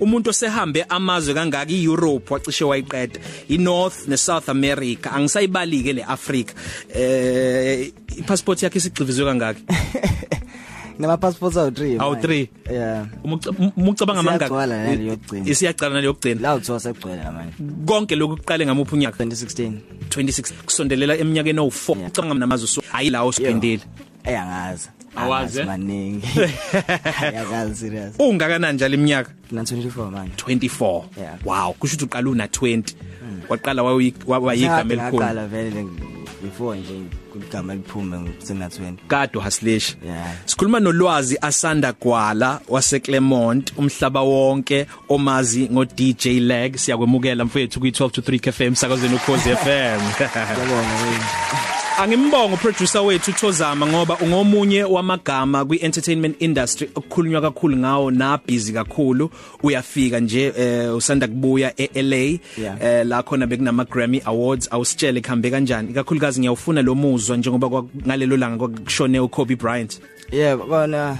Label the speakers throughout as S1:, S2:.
S1: umuntu osehambe amazwe kangaka iEurope wacishe wayiqeda iNorth neSouth America angisayibalike leAfrica eh ipassport yakhe isigcivizwe kangaka
S2: Nama passports awu 3.
S1: Awu three.
S2: Yeah.
S1: umucabanga mangaka
S2: Isiyagcwala nale yokugcina.
S1: isiyaqala nale yokugcina
S2: La utho sekugcwele manje.
S1: konke lokhu kuqale ngamuphi unyaka
S2: 2016.
S1: 26 kusondelela eminyakeni owu4
S2: Yeah.
S1: ucabanga namazwe so hayi la ospendile
S2: Eyangazi.
S1: Awazi, eh?
S2: maningi. Ayazi serious.
S1: ungakanani njalo iminyaka
S2: Na 24 manje.
S1: 24
S2: Yeah.
S1: wow kusho ukuthi uqala una 20 waqala wayi- wa- wayigama elikhulu
S2: Ngaqala vele before nje igama liphume sengina 20.
S1: kade uhaslish
S2: Yeah.
S1: sikhuluma nolwazi asanda gwala wase Clermont umhlaba wonke omazi ngo DJ Lag siyakwemukela mfethu kwi 12 to 3 KFM sakazweni ukhoze FM
S2: Ngiyabonga.
S1: Angimbongo producer wethu Thozama ngoba ungomunye wamagama kwi entertainment industry okukhulunywa kakhulu ngawo na busy kakhulu uyafika nje eh, usanda kubuya eLA
S2: Yeah.
S1: eh, la khona bekunama Grammy Awards awusitshele kuhambe kanjani ikakhulukazi ngiyawufuna lo muzwa njengoba kwa- ngalelo langa kwakushone uKobe Bryant
S2: Yebo kona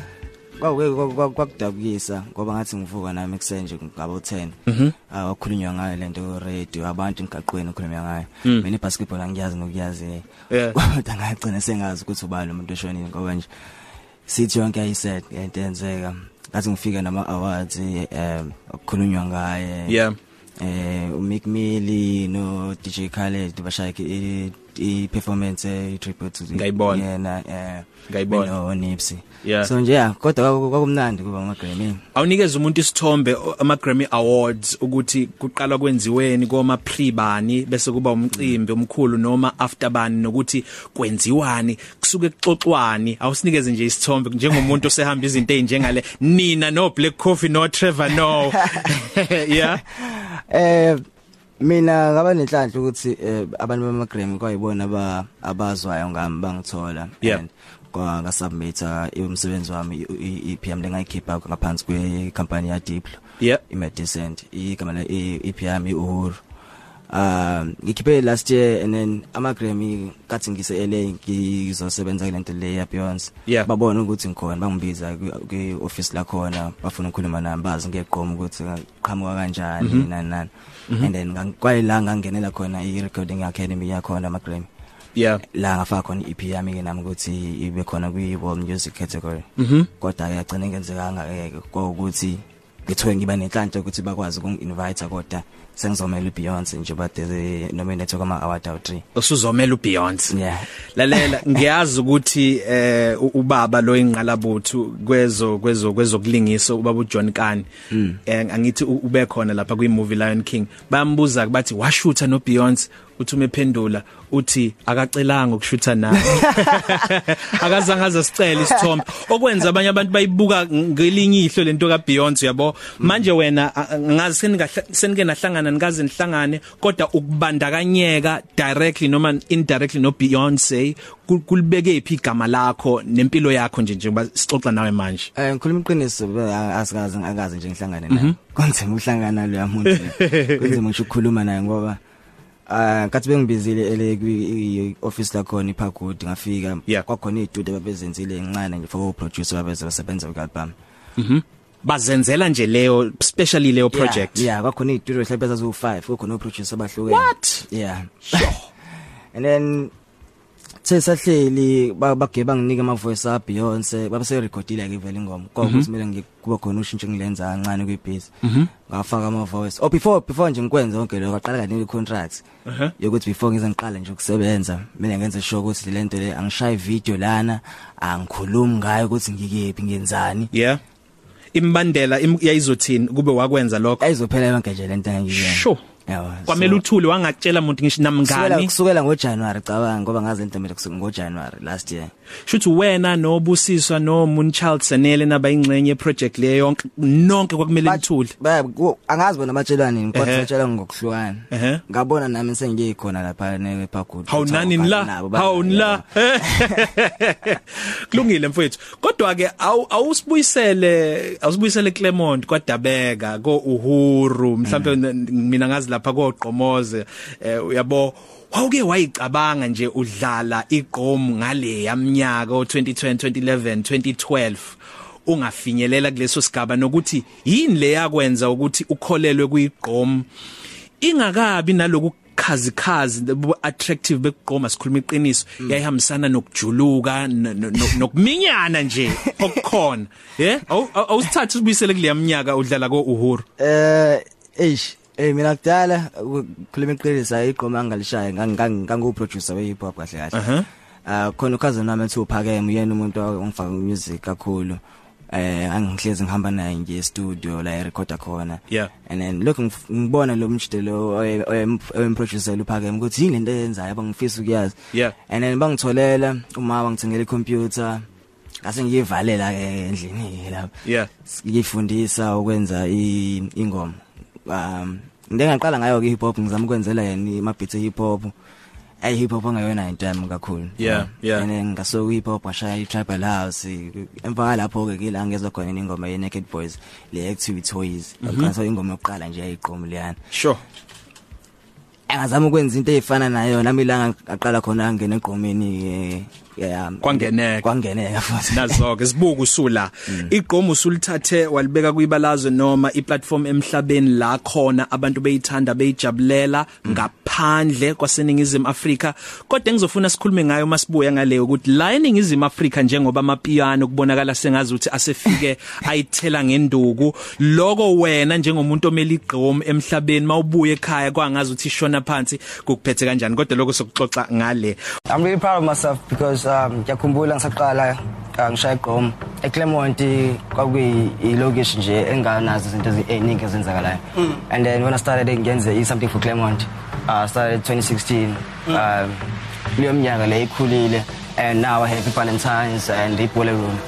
S2: kwakuke kwakudabukisa ngoba ngathi ngivuka nami ekseni nje ngabo 10. Ah wakhulunywa ngayo lento ku radio abantu emgaqweni ukhulunywa ngayo. Mina ibasketball angiyazi nokuyazi.
S1: Yeah.
S2: Kodwa ngagcina sengazi ukuthi ubani umuntu oshonile ngoba nje sithi yonke ayiset into enzeka. Ngathi ngifike nama awards eh okukhulunywa ngaye.
S1: Yeah.
S2: Eh u Mick Millie no DJ Khaled bashaya i i performance eh, i tribute to
S1: Ngayibona.
S2: yena eh
S1: Ngayibona.
S2: no Nipsey
S1: Yeah.
S2: so nje yeah kodwa kwaku- kwakumnandi kuba ngama Grammy
S1: awunikeza umuntu isithombe o- ama Grammy Awards ukuthi kuqala kwenziweni koma pribani bese kuba umcimbi omkhulu noma after bani nokuthi kwenziwani kusuke kuxoxwani awusinikeze nje isithombe njengomuntu osehamba izinto ezinjengale nina no Black Coffee no Trevor no yeah
S2: eh mina ngaba nenhlanhla ukuthi eh, abantu bama Grammy kwayibona aba abazwayo ngami bangithola
S1: Yeah.
S2: And kwa nga submit umsebenzi wami i- i- iPM lengayikhipha ngaphansi kwe company ya Diplo
S1: yeah
S2: iMedicent igama la iPM iUhuru um ngikhiphe last year and then ama Grammy kathi ngise LA ngizosebenza kulento le ya Beyonce
S1: Yeah.
S2: babona ukuthi ngikhona bangibiza kwi office la khona bafuna ukukhuluma nami bazi ngeqhomo ukuthi "Ah, qhamuka kanjani nani nani and then ngikwayilanga ngingenela khona i recording academy yakhona ama Grammy
S1: yeah
S2: la ngafaka khona iEP yami ke nami ukuthi ibe khona kwi world music category mhm kodwa yagcina ingenzekanga ke ukuthi ngithowe ngiba nenhlanhla ukuthi bakwazi ukunginvite kodwa sengizomela uBeyonce nje bade nominate kwama award awu 3
S1: usuzomela uBeyonce
S2: yeah
S1: lalela ngiyazi ukuthi eh u- ubaba lo ingqalabuthu kwezo kwezo kwezokulingisa ubaba uJohn Kani eh angithi u- ube khona lapha kwi movie Lion King bayambuza ke bathi washutha no Beyonce uthi umephendula uthi akacelanga ukushutha nawe akazange azasicela isithombe okwenza abanye abantu bayibuka ng- ngelinye ihlo lento ka Beyonce yabo manje wena a- a- ngazi seningahla- senike nahlangana nikaze nihlangane kodwa ukubandakanyeka directly noma indirectly no Beyonce ku- kulibeke iphi igama lakho nempilo yakho nje njengoba sixoxa nawe manje
S2: Eh ngikhuluma iqiniso be- a- asikaze ngakaze nje ngihlangane naye. Konzima uhlangana lo yamuntu. Konzima ngisho ukukhuluma naye ngoba ah ngathi bengibizile ele kwi i- office la khona iphagodi ngafika
S1: Yeah.
S2: kwakhona izidude babezenzile encane nje for producer babeze basebenza ku album.
S1: bazenzela nje leyo specially leyo project
S2: Mhm. Yeah, yeah kwakhona izidude mhlawumbe sazo 5 kwakhona o producer abahlukene.
S1: What?
S2: Yeah. And then sesahleli bagebe banginike ama voice up Beyonce babese recordile ke vele ingoma
S1: Mhm.
S2: konke ukuthi mina ngikuba khona ushintsho ngilenza kancane kwebeats ngafaka ama voice oh before before nje ngikwenza konke lokho aqala kanike contract
S1: Uh-huh.
S2: yokuthi before ngize ngiqale nje ukusebenza mina ngenze sure ukuthi le nto le angishaye video lana angikhulumi ngayo ukuthi ngikephi ngenzani
S1: yeah imbandela im- yayizothini kube wakwenza lokho
S2: ayizophela yonke nje lento engiyiyena
S1: Sho.
S2: yabo Eh, so-
S1: kwamela uthule wangakutshela umuntu ngisho
S2: kusukela
S1: namngani
S2: kusukela ngoJanuary cabanga ngoba ngazi into mina kusukela ngoJanuary last year
S1: shuthi wena nobusiswa no Moonchild Senele nabayingxenye project leyo yonke nonke kwakumele lithule
S2: Ba- ku- angazi bona batshelwane kodwa
S1: Ehhe.
S2: batshelwa ngokuhlukana.
S1: Ehhe.
S2: Ngabona nami sengiyikhona lapha ne Pagod.
S1: Hawu nani la hawu la kulungile mfowethu kodwa ke awu- awusibuyisele awusibuyisele Clermont kwadabeka ko Uhuru mhlawumbe n- mina ngazi lapha ko Gqomoze eh, uyabo Wawuke wayicabanga nje udlala igqom ngale yamnyaka o 2010 2011 2012 ungafinyelela kuleso sigaba nokuthi yini leyakwenza ukuthi ukholelwe kuyigqomo ingakabi naloku khazikhazi attractive bekugqoma sikhuluma iqiniso yayihambisana nokujuluka no- no- no- nokuminyana nje okukhona yeah Awu- awu- awusithathe ubuyisele kule yaminyaka udlala ko uhuru
S2: eh eish eh mina kudala ukukhuluma iqiniso ayigqoma angalishaya ngangu producer we hip hop kahle kahle ah khona ukhaza nami ethi uphakeme uyena umuntu ongifaka music kakhulu eh angihlezi ngihamba naye nje studio la recorda khona
S1: Yeah.
S2: and then lokho ngif- ngibona lo mjide lo oye- oyem- oyemproducer luphakeme ukuthi yini lento eyenzayo abangifisa ukuyazi
S1: Yeah.
S2: and then bangitholela uma bangithengele icomputer ngase ngiyivalela ke endlini lapha
S1: yeah
S2: ngifundisa ukwenza i- ingoma um ngingaqala ngayo ke hip hop ngizama ukwenzela yena ama beats e hip hop ay hip hop angayona into yami kakhulu
S1: Yeah, yeah.
S2: and ngaso hip hop washaya i tribal house emva lapho ke kila ngezwe khona ingoma ye Naked Boys le active toys
S1: Mhm.
S2: ngakho ingoma yokuqala nje ayiqomo leyana
S1: sure
S2: angazama ukwenza into ezifana nayo nami la ngaqala khona ngene egqomeni yeah
S1: Kwangeneka.
S2: eh, um, kwangeneka futhi
S1: nazoke sibuku usula igqomo usulithathe walibeka kuyibalazwe noma iplatform emhlabeni la khona abantu beyithanda beyijabulela ngaphandle kwaseningizimu Afrika kodwa engizofuna sikhulume ngayo masibuya ngale ukuthi la eningizimu Afrika njengoba amapiano kubonakala sengazi ukuthi asefike ayithela ngenduku loko wena njengomuntu omeli igqomo emhlabeni mawubuye ekhaya kwangazi ukuthi ishona phansi kuphethe kanjani kodwa lokho sokuxoxa ngale
S3: I'm really proud of myself because um ngiyakhumbula ngisaqala uh, ngishaya igqom eClermont kwakuyi i- lokishi nje enganazo izinto ezi- eziningi ezenzakalayo and then when I started ngenze i- something for Claremont uh started 2016 um leyo mnyaka le ikhulile and now I have Valentine's and ibhola room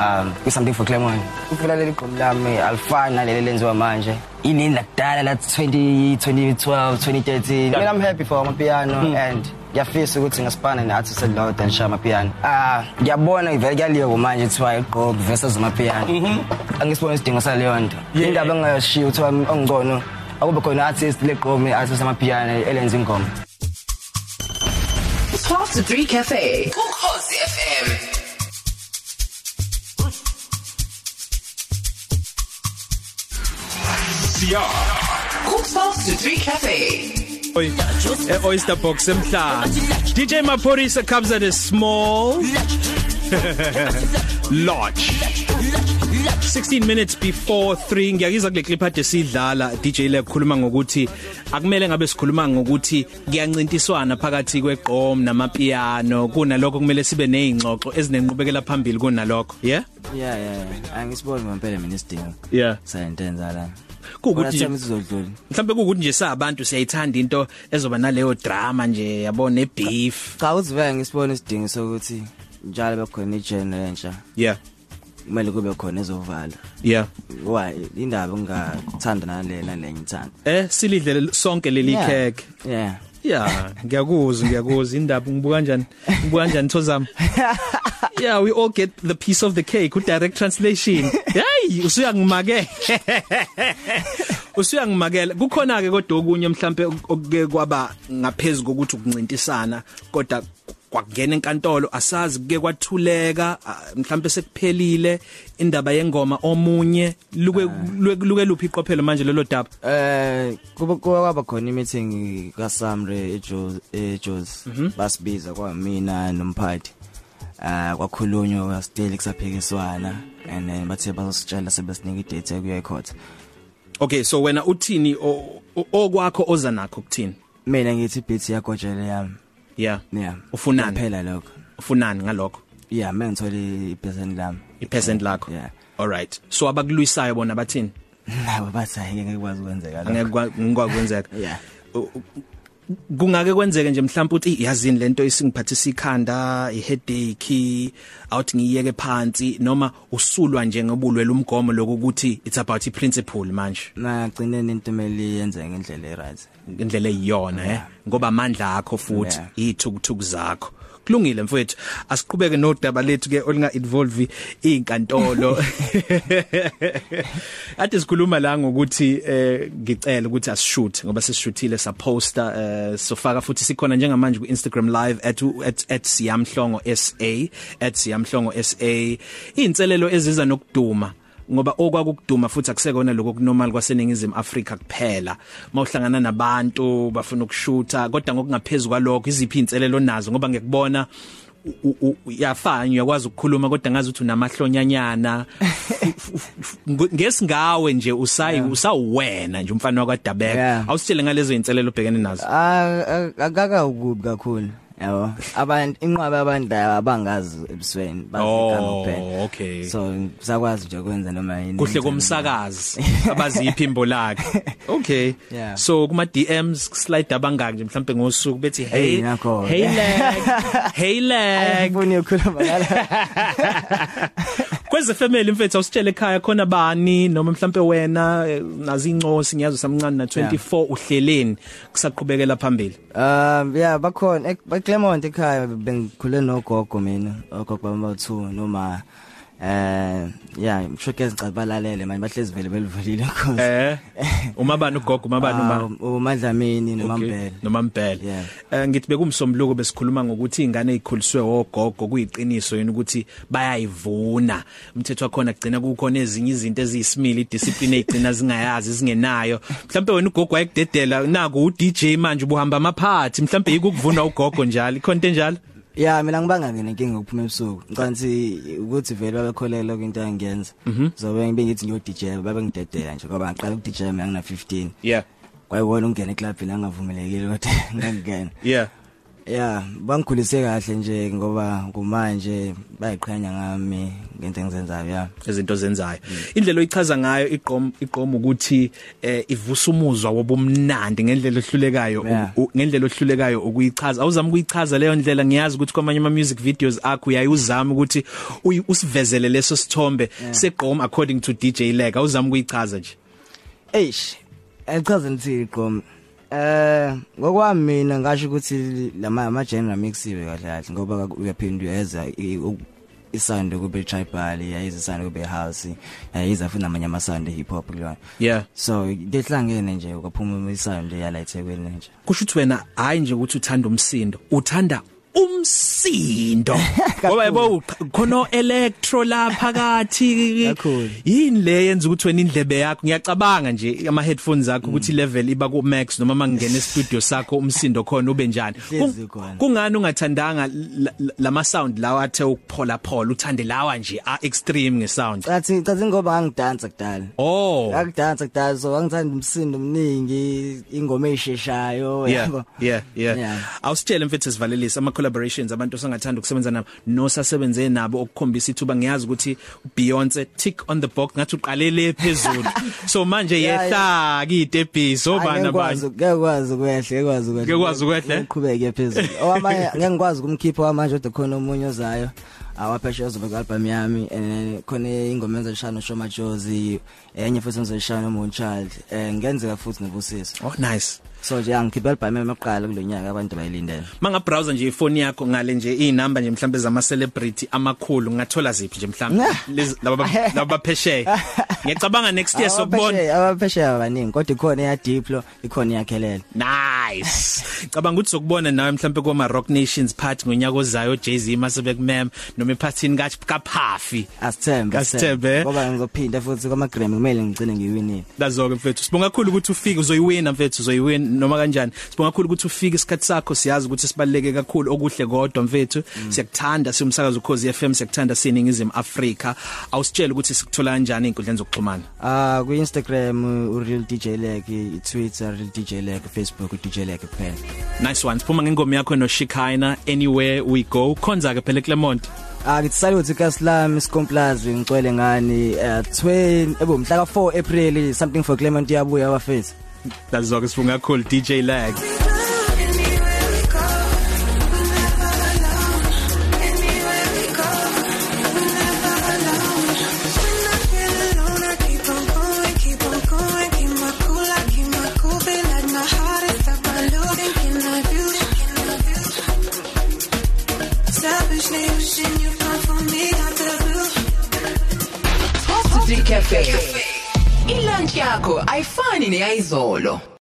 S3: um with something for Claremont ufuna leli gqom lami alifani naleli lenziwa manje inini lakudala la 20 2012 2013 mina I'm happy for amapiano
S2: Mm.
S3: and ngiyafisa ukuthi ngasipana ne-artist elilodwa elishaya amapiano ah ngiyabona vele kuyaliwa manje kuthiwa igqok versus amapiano
S2: Mhm.
S3: angisibona isidingo saleyo nto indaba engingayoshiyo kuthiwa ongcono akube khona i-artist legqomi i-artist amapiano elenza ingoma
S4: Past the 3 Cafe. Ukhozi FM. Cook Past the 3 Cafe.
S1: Oy, eh, oyster box emhla. DJ Maporisa comes at a small lodge. 16 minutes before 3 ngiyakiza kule clip ade sidlala DJ le khuluma ngokuthi akumele ngabe sikhuluma ngokuthi kuyancintiswana phakathi kweqom namapiano kunalokho kumele sibe nezingxoxo ezinenqubekela phambili kunalokho yeah
S2: yeah yeah yeah. angisiboni ngempela mina isidingo
S1: Yeah.
S2: sayentenza la
S1: Kuwukuthi-
S2: Kodwa sami sizodlula
S1: mhlawumbe kukuthi nje sabantu siyayithanda into ezoba naleyo drama nje yabona beef
S2: cha uziveke ngisibona isidingo sokuthi njalo bekhona ijenera entsha
S1: yeah
S2: kumele kube khona ezovala
S1: yeah
S2: why indaba ngingathanda nale nale ngithanda
S1: eh silidlele sonke leli
S2: Yeah.
S1: cake
S2: yeah
S1: yeah ngiyakuzwa ngiyakuzwa indaba ngibuka kanjani ngibuka kanjani thozami yeah we all get the piece of the cake u direct translation hey usuyangimakela usuyangimakela kukhona ke kodwa okunye mhlambe okuke kwaba ngaphezulu kokuthi ukuncintisana kodwa kwakungena enkantolo asazi kuke kwathuleka ah, mhlambe sekuphelile indaba yengoma omunye luke luke- luke luphi iqophelo manje lelo daba
S2: eh kuba kuba kwaba khona imeeting kaSamre eJoz eJoz basibiza kwamina nomphathi ah kwakhulunywa still kusaphekiswana and then bathe bazositshela sebesinika idate ekuya ecourt
S1: Okay so wena uthini o- o- okwakho oza nakho kuthini?
S2: mina ngithi beat yakojele yami
S1: Yeah.
S2: yeah
S1: Ufunani?
S2: phela lokho
S1: Ufunani ngalokho?
S2: yeah mina ngithole iperson lami
S1: Ipercent lakho.
S2: Yeah.
S1: All right. So abakulisayo bona bathini?
S2: nawe bathi "Hhayi, ngeke kwazi kwenzeka lokho."
S1: Angeke kwa- ngikwakwenzeka.
S2: yeah
S1: Kungake kwenzeke nje mhlawumbe uthi yazini lento isingiphathisa ikhanda, iheadache, awuthi ngiyeke phansi noma usulwa nje ngobulwela umgomo lokuthi it's about iprinciple manje.
S2: nagcine into meli yenza ngendlela eright
S1: Indlela eyiyona eh ngoba amandla akho futhi
S2: Yeah.
S1: ithukuthuk zakho. kulungile mfowethu asiqhubeke nodaba lethu ke olinga involve izinkantolo ade sikhuluma la ngokuthi eh, ngicela ukuthi asishoot ngoba sesishuthile saposta eh, sofaka futhi sikhona njengamanje ku Instagram live at at, at siyamhlongo SA at siyamhlongo SA inselelo eziza nokuduma ngoba okwakukuduma futhi akusekona lokho kunormal kwaseningizimu Afrika kuphela mawuhlangana nabantu bafuna ukushutha kodwa ngokungaphezulu kwalokho iziphi inselelo nazo ngoba ngekubona u- u- u- uyafanya uyakwazi ukukhuluma kodwa ngazi ukuthi unamahlonyanyana F- f- f- ngu- ngesingawe nje usayi usawena nje umfana wakwadabeka
S2: Yeah.
S1: awusitshele ngalezo inselelo obhekene nazo
S2: Ah, ah, akaka ukubi kakhulu yabo abantu inqwaba abantu la abangazi ebusweni
S1: Oh,
S2: bazikhamba kuphela
S1: okay.
S2: so sakwazi nje ukwenza noma yini
S1: kuhle komsakazi abaziphimbo lakhe okay
S2: Yeah.
S1: so kuma DMs slide abangaki nje mhlambe ngosuku bethi hey
S2: Hey, nakho.
S1: hey leg hey leg
S2: ayiboni ukukhuluma ngala
S1: kweze family mfethu awusitshele ekhaya khona bani noma mhlambe wena eh, nazi incosi ngiyazi usamncane na 24 uhleleni kusaqhubekela phambili
S2: Um yeah bakhona ek- ba Clement ekhaya bengikhule nogogo mina ogogo bami bathu noma eh yeah mshike ezicabalalele manje bahlezi vele belivulile khona
S1: eh umabani ugogo umabani uma
S2: Um, uMadlamini noMambele
S1: nomambele
S2: Yeah.
S1: eh ngithi bekumsombuluko besikhuluma ngokuthi ingane ezikhuliswe ogogo kuyiqiniso yini ukuthi bayayivuna umthetho wakhona kugcina kukhona ezinye izinto eziyisimili discipline ezigcina zingayazi zingenayo mhlawumbe wena ugogo wayekudedela naku u DJ manje ubuhamba amaphathi mhlawumbe yikuvuna ugogo njalo ikhonto enjalo
S2: Yeah mina ngibanga ngene inkinga ukuphuma ebusuku ngicanti ukuthi vele babekholelwa kwinto engiyenza so bengibengithi ngiyo DJ babengidedela nje ngoba ngiqala uku DJ mina ngina 15
S1: yeah
S2: kwayibona ungena eclubini angavumelekile kodwa ngangena
S1: yeah
S2: Yeah, bangikhulise kahle nje ngoba kumanje bayiqhenya ngami ngento engizenzayo ya.
S1: izinto zenzayo indlela oyichaza ngayo iqom iqom ukuthi eh, ivusa umuzwa wobumnandi ngendlela ohlulekayo
S2: Yeah.
S1: u- u- ngendlela ohlulekayo ukuyichaza awuzama ukuyichaza leyo ndlela ngiyazi ukuthi kwamanye ama music videos akho uyayuzama ukuthi uyi- usivezele leso sithombe seqom according to DJ Leg awuzama ukuyichaza nje
S2: Eish, achaze nithi iqom. Eh, ngokwami mina ngasho ukuthi lama ama genre mixiwe kahle kahle ngoba ka- uyaphinda uyeza i- u- isando kube tribal, yayiza isando kube house, yayiza futhi namanye amasando hip hop kulona.
S1: yeah
S2: So, ngehlangene nje kwaphuma isando yala eThekwini nje.
S1: kusho ukuthi wena hayi nje ukuthi uthanda umsindo uthanda umsindo ngoba yebo khona electro lapha kathi
S2: Kakhulu.
S1: yini le yenza ukuthi wena indlebe yakho ngiyacabanga nje ama headphones akho
S2: Mm.
S1: ukuthi level iba ku max noma mangena e studio sakho umsindo khona ube njani Kung-
S2: Hlezi khona.
S1: kungani ungathandanga la- la- lama sound lawa athe ukuphola phola uthande lawa nje a extreme nge sound
S2: Cathi cathi ngoba ngangidansa kudala.
S1: oh
S2: ngakudansa kudala so angithanda umsindo omningi ingoma eyisheshayo
S1: yeah yeah yeah
S2: Yeah.
S1: awusitshele mfethu sivalelise ama collaborations abantu sangathanda ukusebenza nabo nosasebenze nabo okukhombisa ithuba ngiyazi ukuthi Beyonce tick on the box ngathi uqalele phezulu so manje
S2: Yeah,
S1: yehla kitebhisi obana
S2: Angikwazi-
S1: bani
S2: ngeke kwazi ukwehle ngekwazi ukwehle
S1: Ngeke kwazi ukwehle?
S2: uqhubeke phezulu owamanye ngeke ngikwazi ukumkhipha wamanje kodwa khona omunye ozayo awaphesha ozobe ku-album yami and then khona ingoma engizoyishaya noShoma Jozi enye futhi engizoyishaya noMoonchild eh ngenzeka futhi nobusiso
S1: oh nice
S2: so nje angikhipha i-album yami yokuqala kulonyaka abantu bayilindele
S1: manga browser nje ifoni yakho ngale nje inamba nje mhlambe zama celebrity amakhulu ngathola ziphi nje mhlambe
S2: Nah.
S1: Lezi- laba ba- laba baphesheya ngiyacabanga next year sokubona
S2: abaphesheya abaningi kodwa ikhona eya Diplo ikhona eyakhelele
S1: Nice. Cabanga ukuthi sokubona nawe mhlambe kwa Rock Nations party ngonyaka ozayo Jay-Z masebe kumem noma ephathini ka ka Puffy.
S2: asithembe
S1: Asithembe, eh?
S2: ngoba ngizophinda futhi kwama Grammy kumele ngigcine ngiwinile
S1: Dazoke mfethu. Sibonga kakhulu ukuthi ufike uzoyiwina mfethu uzoyiwina noma kanjani. Sibonga kakhulu ukuthi ufike isikhatsi sakho siyazi ukuthi sibaleke kakhulu okuhle kodwa mfethu. Siyakuthanda siumsakazo ukhozi FM siyakuthanda siningizimi Africa. Awusitshele ukuthi sikuthola kanjani inkundleni zokuxhumana.
S2: ah ku Instagram u real DJ leg i Twitter real DJ leg Facebook DJ leg kuphela
S1: Nice one. Siphuma ngengoma yakho no Shikaina anywhere we go. Khonza ke phela eClermont.
S2: ah ngithi salute kaSlam iskomplazi ngicwele ngani eh, 20 ebo mhla ka 4 April something for Clement yabuya wafethu
S1: Dazoke sibonga kakhulu DJ Lag.
S5: Can I do it? Can I do it? Inspiration you found for me out the blue.
S4: Coffee Cafe. Ilunch yakho ayifani neyizolo.